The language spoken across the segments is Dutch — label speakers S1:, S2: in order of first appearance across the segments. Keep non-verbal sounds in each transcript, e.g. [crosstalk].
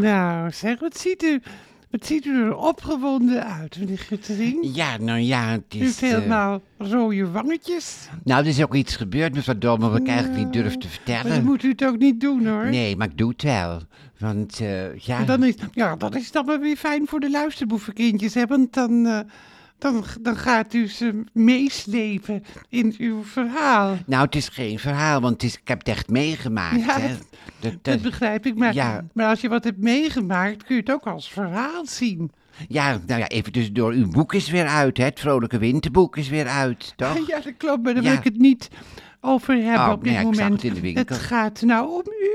S1: Nou, zeg, wat ziet u, wat ziet u er opgewonden uit, meneer Guttering?
S2: Ja, nou ja, het
S1: U
S2: is...
S1: heeft
S2: eh,
S1: helemaal rode wangetjes.
S2: nou, er is ook iets gebeurd, mevrouw Dolman, wat ik eigenlijk niet durf te
S1: Maar dan
S2: vertellen.
S1: moet u het ook niet doen, hoor.
S2: Nee, maar ik doe het wel. Want, eh, ja...
S1: En Dan is, ja, dat is dan wel weer fijn voor de luisterboevenkindjes, hè? Want dan, eh, dan, dan gaat u ze meeslepen in uw verhaal.
S2: Nou, het is geen verhaal, want het is, ik heb het echt meegemaakt.
S1: Ja,
S2: hè.
S1: dat-
S2: Dat-
S1: Dat
S2: dat-
S1: begrijp ik, maar,
S2: ja.
S1: maar als je wat hebt meegemaakt, kun je het ook als verhaal zien.
S2: ja, nou ja, even tussendoor. Uw boek is weer uit, hè? Het Vrolijke Winterboek is weer uit, toch?
S1: [laughs] Ja, dat klopt, maar daar
S2: Ja.
S1: wil ik het niet over hebben
S2: Oh,
S1: op dit
S2: nee, ik zag
S1: moment.
S2: het in de winkel.
S1: gaat nou om u,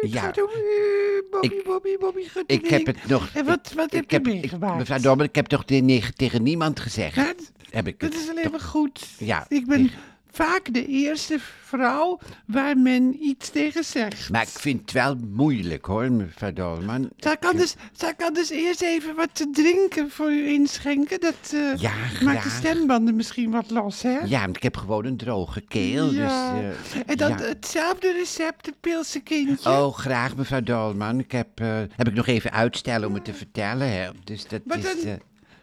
S1: het
S2: Ja.
S1: gaat om u, Bobby,
S2: Ik-
S1: Bobby, Bobby,
S2: Ik
S1: Guttering.
S2: heb het nog...
S1: En wat, wat heb
S2: ik
S1: je
S2: heb, ik-
S1: meegemaakt?
S2: Mevrouw Dobber, ik heb toch de- neg- tegen niemand gezegd?
S1: Wat?
S2: Heb ik
S1: Dat
S2: het.
S1: is alleen maar goed.
S2: Ja,
S1: ik ben
S2: ik-
S1: vaak de eerste vrouw waar men iets tegen zegt.
S2: Maar ik vind het wel moeilijk, hoor, mevrouw Dolman.
S1: Zal ik, anders, zal ik anders eerst even wat te drinken voor u inschenken? Dat eh,
S2: Ja,
S1: maakt de
S2: graag.
S1: stembanden misschien wat los, hè?
S2: Ja, want ik heb gewoon een droge keel,
S1: Ja.
S2: dus... eh,
S1: en dan
S2: ja.
S1: hetzelfde recept, de pilse kindje.
S2: Oh, graag, mevrouw Dolman. Ik heb, eh, heb ik nog even uitstellen om het te vertellen, hè? Dus dat
S1: Wat
S2: is...
S1: een-
S2: eh,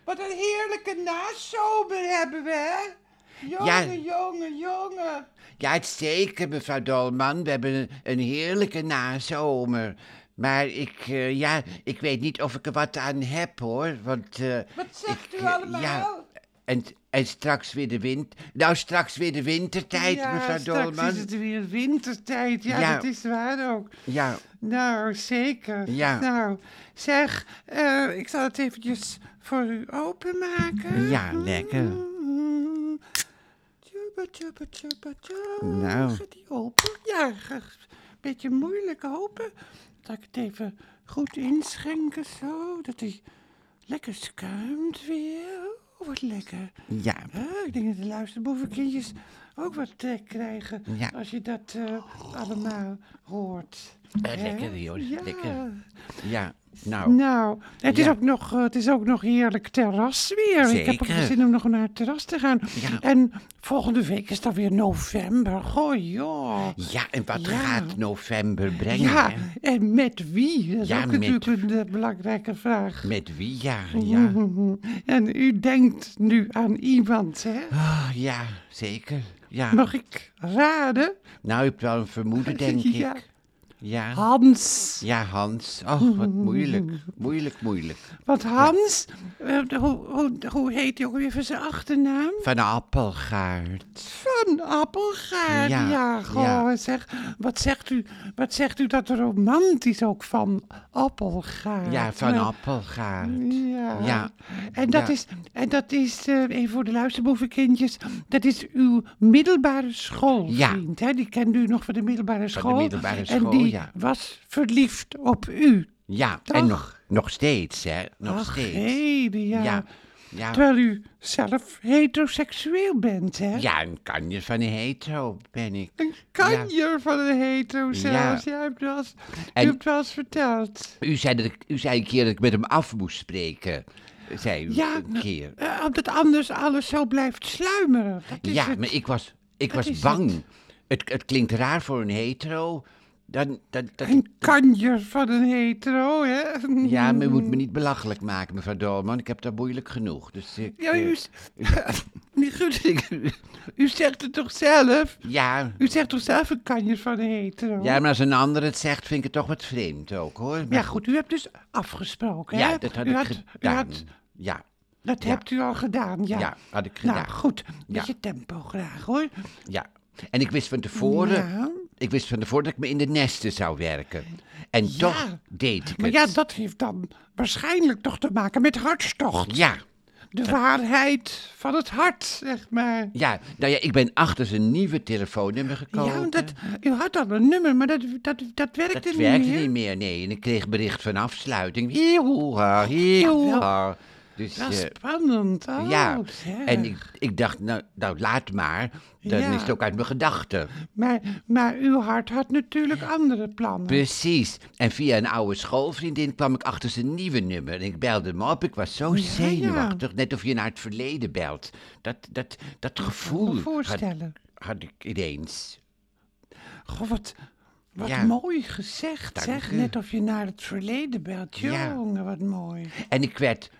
S1: Wat een heerlijke nazomer hebben we, hè? Jongen, jongen, jongen.
S2: Ja, het zeker, mevrouw Dolman. We hebben een, een heerlijke nazomer. Maar ik, eh, ja, ik weet niet of ik er wat aan heb, hoor. Want, eh,
S1: Wat zegt
S2: ik,
S1: u
S2: eh,
S1: allemaal?
S2: Ja, en, en straks weer de wind... Nou, straks weer de wintertijd,
S1: ja,
S2: mevrouw
S1: straks
S2: Dolman.
S1: is het weer wintertijd. Ja,
S2: Ja.
S1: dat is waar ook.
S2: Ja,
S1: Nou, zeker.
S2: Ja.
S1: Nou, zeg, eh, ik zal het eventjes voor u openmaken.
S2: Ja, lekker.
S1: Tjubba, tjubba, tjubba, tjubba.
S2: Nou.
S1: Gaat die open? Ja, ga- een beetje moeilijk open. Dat ik het even goed inschenken zo, dat hij lekker schuimt weer. Oh, wat lekker.
S2: ja.
S1: Ah, ik denk dat de luisterboevenkindjes ook wat trek krijgen
S2: Ja.
S1: als je dat eh, allemaal hoort.
S2: Eh,
S1: Hè?
S2: lekker, joh,
S1: Ja.
S2: lekker. Ja, nou...
S1: Nou, het, is
S2: Ja.
S1: ook nog, eh, het is ook nog heerlijk terras weer. Ik heb ook
S2: Zeker.
S1: zin om nog naar het terras te gaan.
S2: Ja.
S1: En volgende week is dat weer november. Goh, joh.
S2: Ja, en wat
S1: Ja.
S2: gaat november brengen?
S1: Ja,
S2: hè?
S1: en met wie? Dat is
S2: Ja,
S1: ook
S2: met-
S1: natuurlijk een eh, belangrijke vraag.
S2: Met wie? Ja, ja.
S1: [laughs] En u denkt nu aan iemand, hè?
S2: Ah, ja, zeker. Ja.
S1: Mag ik raden?
S2: Nou, je hebt wel een
S1: [laughs]
S2: vermoeden, denk
S1: Ja.
S2: ik. Ja.
S1: Hans.
S2: Ja, Hans. Oh, wat
S1: [laughs]
S2: moeilijk. Moeilijk, moeilijk.
S1: Want Hans, eh, de- hoe, hoe, hoe heet hij ook weer van zijn achternaam?
S2: Van Appelgaard.
S1: Van Appelgaard. Ja,
S2: Ja,
S1: goh,
S2: ja.
S1: zeg. Wat zegt, u, wat zegt u dat romantisch ook van Appelgaard?
S2: Ja, van
S1: Nou,
S2: Appelgaard.
S1: Ja.
S2: Ja.
S1: En dat
S2: Ja.
S1: is, en dat is eh, even voor de luisterboevenkindjes, dat is uw middelbare schoolvriend. Hè? Die kende u nog van de middelbare school.
S2: middelbare
S1: En
S2: school,
S1: die
S2: ja.
S1: was verliefd op u.
S2: Ja,
S1: Toch?
S2: en nog, nog steeds, hè? Nog
S1: Ach,
S2: steeds.
S1: heden, ja.
S2: Ja. Ja.
S1: Terwijl u zelf heteroseksueel bent, hè?
S2: Ja, een kanje van een hetero ben ik.
S1: Een kanjer
S2: Ja.
S1: van een hetero zelfs. Jij hebt wel eens,
S2: En-
S1: u hebt wel eens verteld.
S2: U zei, dat ik, u zei een keer dat ik met hem af moest spreken. Zei u
S1: Ja,
S2: een
S1: nou,
S2: keer.
S1: eh, omdat anders alles zo blijft sluimeren. Dat is
S2: Ja,
S1: het.
S2: maar ik was, ik
S1: is
S2: was bang. Het, het klinkt raar voor een hetero. Dan, dan, dat,
S1: Een kanjer van een hetero, hè?
S2: Ja, maar je moet me niet belachelijk maken, mevrouw Dolman. Ik heb dat moeilijk genoeg. Dus ik,
S1: Ja,
S2: eh,
S1: u, [laughs] s- meneer Guttering, u- u zegt het toch zelf?
S2: ja,
S1: U zegt toch zelf een kanjer van een hetero?
S2: ja, maar als een ander het zegt, vind ik het toch wat vreemd ook, hoor. Maar
S1: Ja, goed, u hebt dus afgesproken, hè?
S2: Ja, dat had
S1: u
S2: ik
S1: had, u
S2: gedaan.
S1: had
S2: ja,
S1: Dat
S2: Ja.
S1: hebt u al gedaan, ja.
S2: Ja, had ik
S1: Nou,
S2: gedaan.
S1: goed.
S2: Ja.
S1: Beetje tempo graag, hoor.
S2: ja. En ik wist van tevoren,
S1: Ja.
S2: ik wist van tevoren dat ik me in de nesten zou werken. En toch deed ik
S1: Maar
S2: het.
S1: ja, dat heeft dan waarschijnlijk toch te maken met hartstocht.
S2: ja,
S1: De waarheid van het hart, zeg maar.
S2: ja. Nou ja, ik ben achter zijn nieuwe telefoonnummer gekomen.
S1: Ja, want dat, u had al een nummer, maar dat, dat, dat werkte
S2: Dat
S1: niet
S2: werkte
S1: meer.
S2: niet meer, nee. En ik kreeg bericht van afsluiting. Hiehoeha, hiehoeha. Dus,
S1: Dat
S2: eh,
S1: is spannend. Oh,
S2: ja,
S1: zeg.
S2: en ik, ik dacht, nou, nou laat maar. Dan
S1: Ja.
S2: is het ook uit mijn gedachten.
S1: Maar, maar uw hart had natuurlijk andere plannen.
S2: Precies. En via een oude schoolvriendin kwam ik achter zijn nieuwe nummer. En ik belde hem op. Ik was zo zenuwachtig. Net of je naar het verleden belt. Dat, dat, dat
S1: Ik kan me
S2: gevoel had,
S1: voorstellen.
S2: had ik ineens.
S1: Goh, wat, Wat
S2: Ja.
S1: mooi gezegd,
S2: Dank
S1: zeg.
S2: u.
S1: Net of je naar het verleden belt.
S2: Ja.
S1: Jongen, wat mooi.
S2: En ik werd,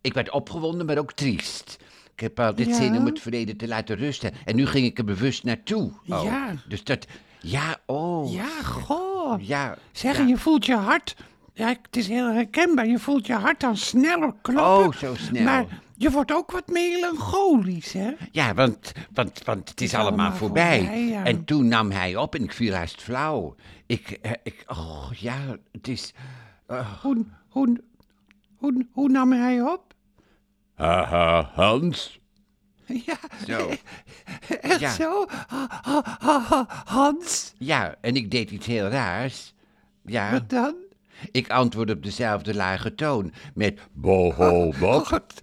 S2: ik werd opgewonden, maar ook triest. Ik heb altijd
S1: Ja.
S2: zin om het verleden te laten rusten. En nu ging ik er bewust naartoe. ook.
S1: Ja.
S2: Dus dat... Ja, oh.
S1: Ja, goh.
S2: Ja.
S1: Zeg,
S2: ja.
S1: je voelt je hart... Ja, het is heel herkenbaar. Je voelt je hart dan sneller kloppen.
S2: Oh, zo snel.
S1: Maar je wordt ook wat melancholisch, hè?
S2: Ja, want, want, want het is allemaal, voorbij.
S1: voorbij, ja.
S2: En toen nam hij op en ik viel haast flauw. Ik, eh, ik oh ja, het is...
S1: Hoe, hoe, hoe, hoe nam hij op? [laughs]
S2: Haha, Hans.
S1: Ja,
S2: Zo.
S1: [laughs] echt
S2: Ja.
S1: zo? Ha- ha- ha- ha- Hans,
S2: Ja, en ik deed iets heel raars. Ja,
S1: wat dan?
S2: ik antwoordde op dezelfde lage toon met... Boho, wat?
S1: Wat,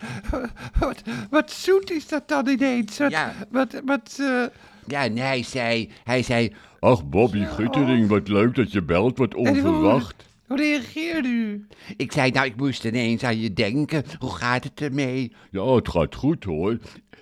S1: wat, wat zoet is dat dan ineens? Wat,
S2: Ja.
S1: wat, wat, eh,
S2: Ja, en hij zei, hij zei... oh,
S3: Ach, Bobby Guttering, wat leuk dat je belt, wat
S1: en hoe-
S3: onverwacht.
S1: Hoe reageerde u?
S2: Ik zei, nou, ik moest ineens aan je denken. Hoe gaat het ermee?
S3: Ja, het gaat goed hoor.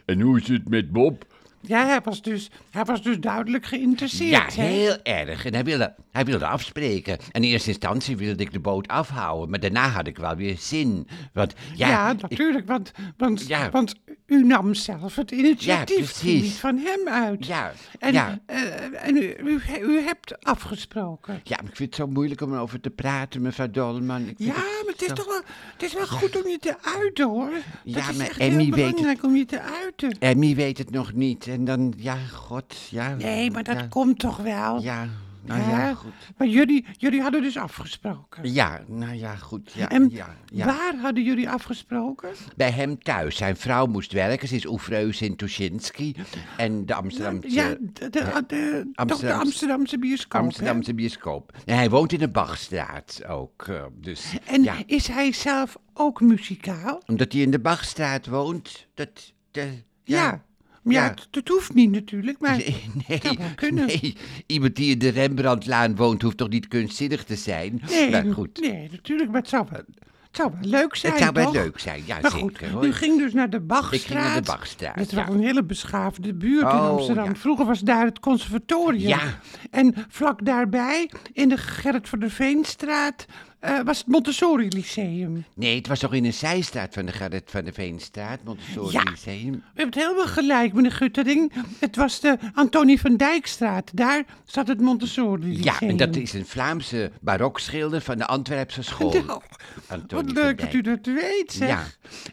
S3: En hoe is het met Bob?
S1: Ja, hij was dus, hij was dus duidelijk
S2: Ja,
S1: geïnteresseerd. hè?
S2: heel erg. En hij wilde, hij wilde afspreken. In eerste instantie wilde ik de boot afhouden. Maar daarna had ik wel weer zin. Want ja,
S1: Ja,
S2: ik-
S1: natuurlijk, want, want,
S2: Ja.
S1: want u nam zelf het initiatief,
S2: Ja,
S1: het ging
S2: precies.
S1: niet van hem uit.
S2: ja,
S1: En,
S2: ja,
S1: eh, en u, u, u hebt afgesproken.
S2: ja, maar ik vind het zo moeilijk om over te praten, mevrouw Dolman. Ik vind
S1: Ja, maar het is toch wel, het is wel goed om je te uiten, hoor.
S2: Ja,
S1: dat is
S2: maar
S1: echt
S2: Emmy
S1: heel
S2: weet het-
S1: belangrijk om je te uiten.
S2: Emmy weet het nog niet. En dan, ja, god, ja.
S1: Nee, maar dat
S2: ja,
S1: komt toch wel?
S2: Ja, nou
S1: Hè?
S2: ja, goed.
S1: Maar jullie, jullie hadden dus afgesproken.
S2: Ja, nou ja, goed. Ja,
S1: en
S2: ja, ja.
S1: waar hadden jullie afgesproken?
S2: Bij hem thuis. Zijn vrouw moest werken. Ze is oefreus in Tuschinski. En de Amsterdamse...
S1: ja, de, de, de, toch de
S2: Amsterdamse-
S1: Amsterdamse bioscoop. hè?
S2: Amsterdamse bioscoop. En hij woont in de Bachstraat ook. eh, Dus
S1: En
S2: ja,
S1: is hij zelf ook muzikaal?
S2: omdat hij in de Bachstraat woont, dat... de-
S1: Ja. Maar ja,
S2: Ja.
S1: het, het hoeft niet natuurlijk, maar...
S2: [laughs] Nee,
S1: Dat
S2: nee,
S1: zou kunnen.
S2: nee. iemand die in de Rembrandtlaan woont hoeft toch niet kunstzinnig te zijn? maar goed,
S1: Nee, natuurlijk, maar het zou wel, het zou wel leuk zijn,
S2: het zou wel
S1: toch?
S2: leuk zijn. Ja,
S1: Maar
S2: zeker.
S1: goed,
S2: hoor.
S1: u ging dus naar de Bachstraat.
S2: Ik ging naar de Bachstraat,
S1: Dat
S2: ja.
S1: was een hele beschaafde buurt in
S2: Oh,
S1: Amsterdam.
S2: ja.
S1: Vroeger was daar het conservatorium.
S2: Ja.
S1: En vlak daarbij, in de Gerrit van der Veenstraat, eh, was het Montessori Lyceum.
S2: Nee, het was toch in een zijstraat van de Gerrit van de Veenstraat, Montessori
S1: Ja.
S2: Lyceum?
S1: U hebt helemaal gelijk, meneer Guttering. Het was de Antonie van Dijkstraat. Daar zat het Montessori Lyceum.
S2: Ja, en dat is een Vlaamse barokschilder van de
S1: [laughs]
S2: Antwerpse school.
S1: Nou,
S2: Antonie
S1: wat
S2: van
S1: leuk
S2: Dijk.
S1: dat u dat weet, zeg.
S2: Ja,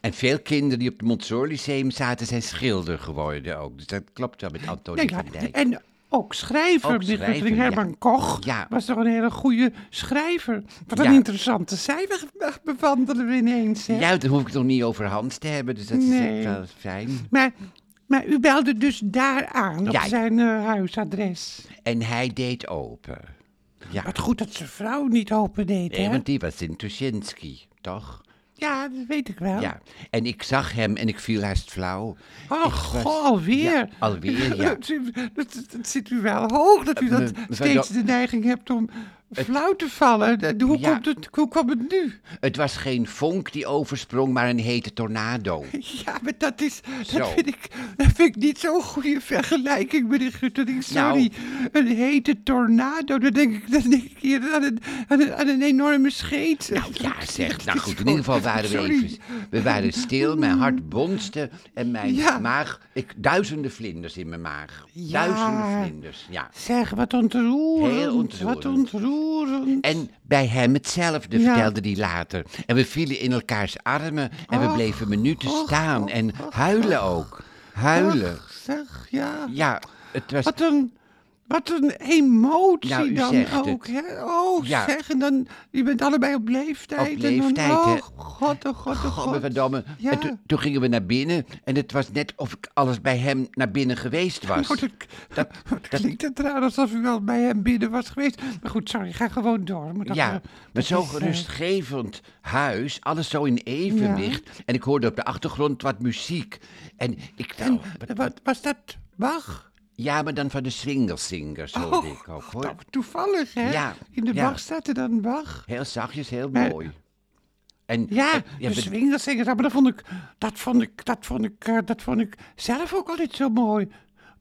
S2: en veel kinderen die op het Montessori Lyceum zaten zijn schilder geworden ook. Dus dat klopt wel met Antonie
S1: Nou
S2: van
S1: ja,
S2: Dijk.
S1: En ook schrijver,
S2: Ook
S1: meneer
S2: schrijver,
S1: Guttering.
S2: ja.
S1: Herman Koch
S2: Ja.
S1: was toch een hele goede schrijver. Wat een
S2: Ja.
S1: interessante cijfer bewandelen we ineens. Hè?
S2: Ja, daar hoef ik het nog niet over Hans te hebben, dus dat is
S1: Nee.
S2: echt wel fijn.
S1: Maar, maar u belde dus daar aan, op
S2: Ja.
S1: zijn eh, huisadres.
S2: En hij deed open. Ja,
S1: Wat goed dat zijn vrouw niet open deed,
S2: nee,
S1: hè?
S2: want die was in Tuschinski, toch?
S1: Ja, dat weet ik wel.
S2: Ja, en ik zag hem en ik viel haast flauw.
S1: Oh,
S2: Ik was-
S1: goh, alweer.
S2: Ja, alweer, ja.
S1: [laughs] dat, dat- dat zit u wel hoog, dat u
S2: Eh,
S1: dat
S2: me- mevrouw
S1: steeds
S2: Jo-
S1: de neiging hebt om flauw te vallen. Dat- Hoe,
S2: Ja.
S1: komt het, hoe kwam het nu?
S2: Het was geen vonk die oversprong, maar een hete tornado.
S1: Ja, maar dat is.
S2: Zo.
S1: Dat vind ik, dat vind ik niet zo'n goede vergelijking, meneer
S2: Nou.
S1: Guttering. Sorry. Een hete tornado. Dan denk ik, dan denk ik hier aan een, aan een, aan een enorme scheet.
S2: Nou ja, zeg.
S1: Dat
S2: Nou
S1: is
S2: goed, in
S1: gewoon-
S2: ieder geval waren we
S1: sorry.
S2: even... We waren stil, mijn hart bonste en mijn
S1: Ja.
S2: maag... Ik, duizenden vlinders in mijn maag.
S1: Ja.
S2: Duizenden vlinders, ja.
S1: Zeg, wat ontroerend.
S2: Heel ontroerend.
S1: Wat ontroerend.
S2: En bij hem hetzelfde,
S1: Ja.
S2: vertelde hij later. En we vielen in elkaars armen en we
S1: Och,
S2: bleven minuten
S1: och,
S2: staan
S1: och,
S2: en
S1: och,
S2: huilen ook. Huilen.
S1: Ach, zeg, ja.
S2: Ja, het was...
S1: Wat een. Wat een emotie
S2: Nou, u
S1: dan
S2: zegt het.
S1: ook. Hè? Oh,
S2: Ja.
S1: zeg, en dan, je bent allebei op leeftijd.
S2: Op
S1: en dan,
S2: leeftijd,
S1: oh,
S2: hè.
S1: god, oh, god, oh, god.
S2: Godverdamme.
S1: Ja.
S2: En toen- toen gingen we naar binnen en het was net of ik alles bij hem naar binnen geweest was.
S1: Nou, dat, [laughs] dat, klinkt het raar alsof u wel bij hem binnen was geweest. Maar goed, sorry, ga gewoon door. Maar dat, eh,
S2: Ja,
S1: dat
S2: met zo'n
S1: is, eh,
S2: gerustgevend huis, alles zo in evenwicht. En ik hoorde op de achtergrond wat muziek. En ik dacht,
S1: en eh, wat was dat? Bach?
S2: ja, maar dan van de swingersingers hoorde
S1: Oh,
S2: ik ook hoor.
S1: Nou, toevallig, hè?
S2: Ja,
S1: In de
S2: ja.
S1: Bach staat er dan Bach.
S2: Heel zachtjes, heel
S1: Maar-
S2: mooi. En,
S1: Ja, dus
S2: en- Eh, ja,
S1: de
S2: we-
S1: eh, swingersingers. Maar dat vond ik, dat vond ik, dat vond ik, eh, dat vond ik zelf ook altijd zo mooi.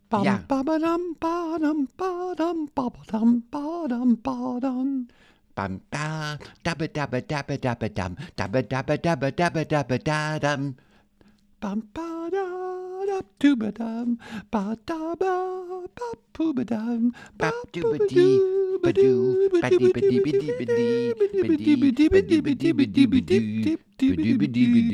S1: Pam,
S2: Ja.
S1: pabadam, padam, padam, pabadam, padam, padam.
S2: Bam, ba, dabba, dabba, dabba, dabba, dam. Dabba, dabba, dabba, dabba, dabba, dadam.
S1: Pam, padadap, tubadam, pataba, papoebadam,
S2: Bap-doobadee, badoo, badee-badee-badee-badee, badee-badee-badee-badee-badee-badee-badee,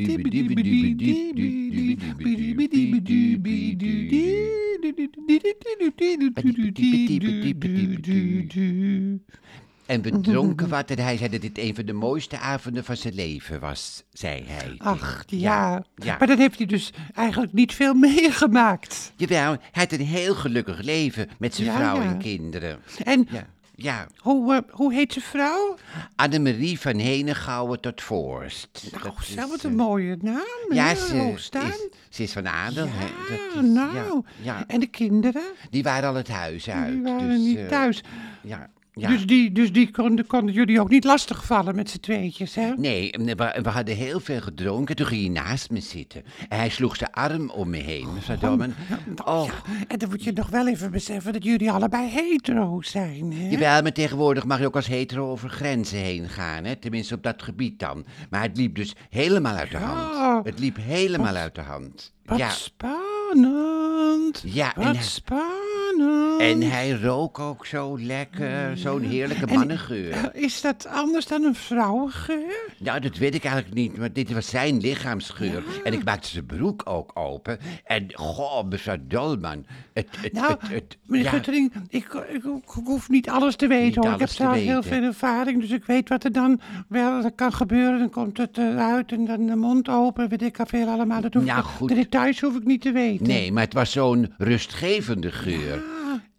S1: Mhm,
S2: En we dronken wat en hij zei dat dit een van de mooiste avonden van zijn leven was, zei hij.
S1: Ach, ja.
S2: ja.
S1: Maar dan heeft hij dus eigenlijk niet veel meegemaakt.
S2: Jawel, hij had een heel gelukkig leven met zijn
S1: Ja,
S2: vrouw
S1: ja.
S2: en kinderen.
S1: En
S2: Ja, ja.
S1: hoe, eh, hoe heet zijn vrouw?
S2: Annemarie van Henegouwen tot Voorst.
S1: Nou,
S2: Dat is,
S1: zelf wat
S2: eh,
S1: een mooie naam.
S2: Ja,
S1: hè,
S2: ze is,
S1: Hoogstaan.
S2: ze is van adel. hè.
S1: Ja,
S2: Dat is-
S1: nou.
S2: Ja, ja.
S1: En de kinderen?
S2: Die waren al het huis uit.
S1: Die waren
S2: dus,
S1: niet
S2: eh,
S1: thuis.
S2: Ja, ja.
S1: Dus die, dus die konden, konden jullie ook niet lastigvallen met z'n tweetjes, hè?
S2: Nee, en we, we hadden heel veel gedronken. Toen ging hij naast me zitten. En hij sloeg zijn arm om me heen, mevrouw Dolman.
S1: nou,
S2: Oh,
S1: En dan moet je nog wel even beseffen dat jullie allebei hetero zijn, hè?
S2: Jawel, maar tegenwoordig mag je ook als hetero over grenzen heen gaan, hè? tenminste op dat gebied dan. Maar het liep dus helemaal uit de
S1: Ja.
S2: hand. Het liep helemaal uit de hand.
S1: Wat
S2: ja.
S1: spannend.
S2: Ja, en
S1: Wat
S2: hij-
S1: spannend.
S2: En hij rook ook zo lekker, zo'n heerlijke
S1: Mm. En-
S2: mannengeur.
S1: Is dat anders dan een vrouwengeur?
S2: Nou, dat weet ik eigenlijk niet, maar dit was zijn lichaamsgeur. En ik maakte zijn broek ook open. En goh, mevrouw Dolman. Het, het,
S1: Nou,
S2: het, het-
S1: meneer
S2: ja.
S1: Guttering, ik, ik, ik hoef niet alles te weten.
S2: Niet
S1: hoor. Ik heb
S2: alles te
S1: trouwens heel
S2: weten.
S1: veel ervaring, dus ik weet wat er dan wel kan gebeuren. Dan komt het eruit en dan de mond open, weet ik al veel allemaal. Dat hoef ik-
S2: Nou, goed.
S1: De details hoef ik niet te weten.
S2: Nee, maar het was zo'n rustgevende geur.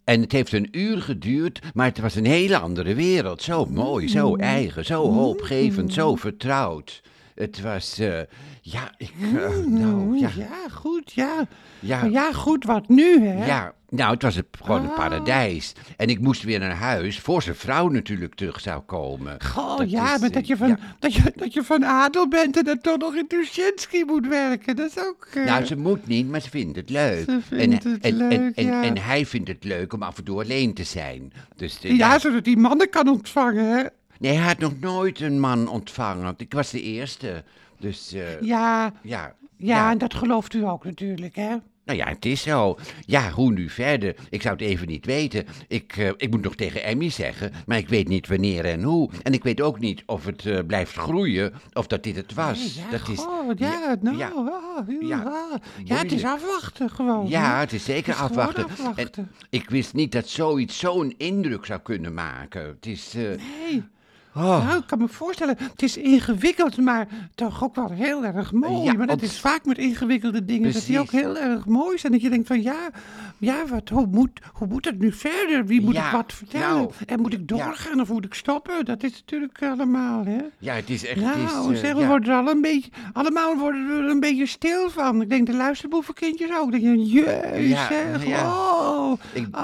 S2: En het heeft een uur geduurd, maar het was een hele andere wereld. Zo mooi,
S1: Mm.
S2: zo eigen, zo hoopgevend, zo vertrouwd. Het was, eh, ja, ik, eh, nou, ja,
S1: Mm. Ja, goed, ja.
S2: Ja.
S1: Maar ja, goed, wat nu, hè?
S2: ja. Nou, het was een- gewoon
S1: Ah.
S2: een paradijs. En ik moest weer naar huis, voor zijn vrouw natuurlijk terug zou komen.
S1: Goh,
S2: Dat
S1: ja,
S2: is,
S1: maar
S2: eh,
S1: dat je, van,
S2: ja.
S1: dat, je, dat je van adel bent en dat toch nog in Tuschinski moet werken, dat is ook... eh,
S2: Nou, ze moet niet, maar ze vindt het leuk.
S1: Ze vindt
S2: en,
S1: het
S2: en, en,
S1: leuk,
S2: en,
S1: ja.
S2: en hij vindt het leuk om af en toe alleen te zijn. Dus, eh,
S1: ja, zodat die mannen kan ontvangen, hè?
S2: Nee, hij had nog nooit een man ontvangen. want Ik was de eerste. Dus eh, ja.
S1: Ja,
S2: Ja,
S1: ja, en dat gelooft u ook natuurlijk, hè?
S2: Nou ja, het is zo. Ja, hoe nu verder? Ik zou het even niet weten. Ik, eh, ik moet nog tegen Emmy zeggen, maar ik weet niet wanneer en hoe. En ik weet ook niet of het eh, blijft groeien of dat dit het was.
S1: Ja,
S2: dat is,
S1: goh, ja, nou,
S2: ja.
S1: ah, ja,
S2: Ja.
S1: ah. ja, het is
S2: Moeilijk.
S1: afwachten gewoon.
S2: Ja,
S1: hè?
S2: het is zeker
S1: Het Hm? is gewoon
S2: afwachten.
S1: afwachten.
S2: En ik wist niet dat zoiets zo'n indruk zou kunnen maken. Het is... eh,
S1: Nee. Nou, ik kan me voorstellen, het is ingewikkeld, maar toch ook wel heel erg mooi.
S2: Ja,
S1: maar dat
S2: op-
S1: is vaak met ingewikkelde dingen, dat die ook
S2: Precies.
S1: heel erg mooi zijn. Dat je denkt van, ja, ja wat, hoe, moet, hoe moet het nu verder? Wie moet
S2: Ja,
S1: ik wat vertellen?
S2: nou,
S1: en moet ik doorgaan of moet ik stoppen? Dat is natuurlijk allemaal, hè?
S2: Ja, het is echt... het is,
S1: Nou,
S2: eh,
S1: zeg, we
S2: ja.
S1: worden er al een beetje, allemaal worden we er een beetje stil van. Ik denk de luisterboevenkindjes ook. Ik Denk, jeus,
S2: Ja,
S1: zeg,
S2: ja.
S1: oh,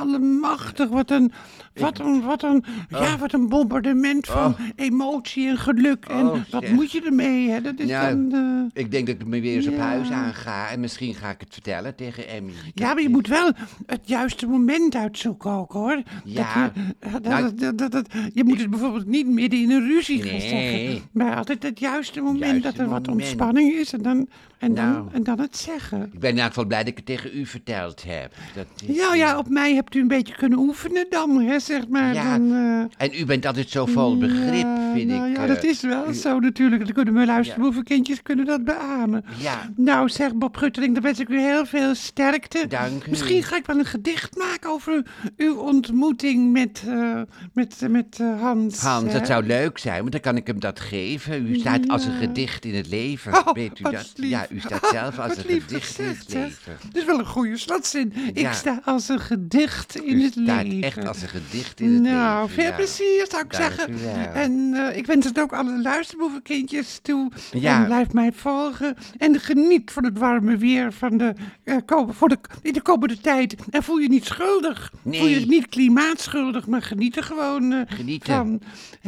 S1: allemachtig, wat een, wat een, wat een,
S2: Oh.
S1: ja, wat een bombardement van emotie en geluk. En
S2: Oh,
S1: wat
S2: zeg.
S1: moet je ermee, hè? Dat is
S2: Nou,
S1: dan, eh,
S2: Ik denk dat ik me weer eens op
S1: Ja.
S2: huis aanga en misschien ga ik het vertellen tegen Emmy.
S1: ja, maar je moet wel het juiste moment uitzoeken ook, hoor.
S2: Ja.
S1: Dat je, eh, dat,
S2: Nou,
S1: dat, dat, dat- je moet het bijvoorbeeld niet midden in een ruzie gaan
S2: Nee.
S1: zeggen. Maar altijd het juiste moment
S2: Juiste
S1: dat er
S2: moment.
S1: wat ontspanning is. En dan, en,
S2: Nou.
S1: dan, en dan het zeggen.
S2: Ik ben in elk geval blij dat ik het tegen u verteld heb. Dat is-
S1: Ja, ja, op mij hebt u een beetje kunnen oefenen dan, hè, zeg maar.
S2: Ja,
S1: dan, eh,
S2: En u bent altijd zo vol begrip,
S1: ja,
S2: vind
S1: nou
S2: ik.
S1: Ja,
S2: eh.
S1: dat is wel zo natuurlijk. Dat kunnen mijn luisterboevenkindjes kunnen dat beamen.
S2: Ja.
S1: Nou, zeg Bob Guttering, dan wens ik u heel veel sterkte.
S2: Dank u.
S1: Misschien ga ik wel een gedicht maken over uw- uw ontmoeting met, eh, met, eh, met eh, Hans.
S2: Hans,
S1: hè.
S2: dat zou leuk zijn, want dan kan ik hem dat geven. U staat als een gedicht in het leven,
S1: Oh,
S2: weet u
S1: wat
S2: dat?
S1: lief.
S2: Ja, u staat
S1: Oh,
S2: zelf als
S1: [laughs] wat
S2: een
S1: lief
S2: gedicht in het
S1: gezegd, zeg.
S2: leven.
S1: Dat is wel een goede slotzin. Ik
S2: Ja.
S1: sta als een gedicht in
S2: U
S1: het
S2: staat
S1: leven.
S2: echt als een gedicht in het leven.
S1: Nou, veel
S2: ja.
S1: plezier zou ik
S2: Dank
S1: zeggen.
S2: u wel.
S1: En eh, ik wens het ook alle luisterboevenkindjes toe.
S2: Ja.
S1: En blijf mij volgen. En geniet van het warme weer van de, eh, kom- voor de, in de komende tijd. En voel je niet schuldig.
S2: Nee.
S1: Voel je het niet klimaatschuldig, maar geniet er gewoon eh,
S2: Genieten.
S1: van.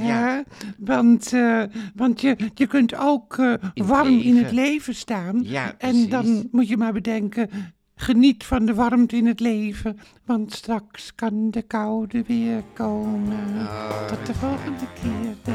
S2: Ja.
S1: Hè? Want, eh, want je, je kunt ook eh,
S2: het
S1: warm in het
S2: leven.
S1: leven staan.
S2: Ja,
S1: en
S2: precies.
S1: dan moet je maar bedenken... Geniet van de warmte in het leven,
S2: Ah,
S1: want straks kan de koude weer komen. Tot de volgende keer.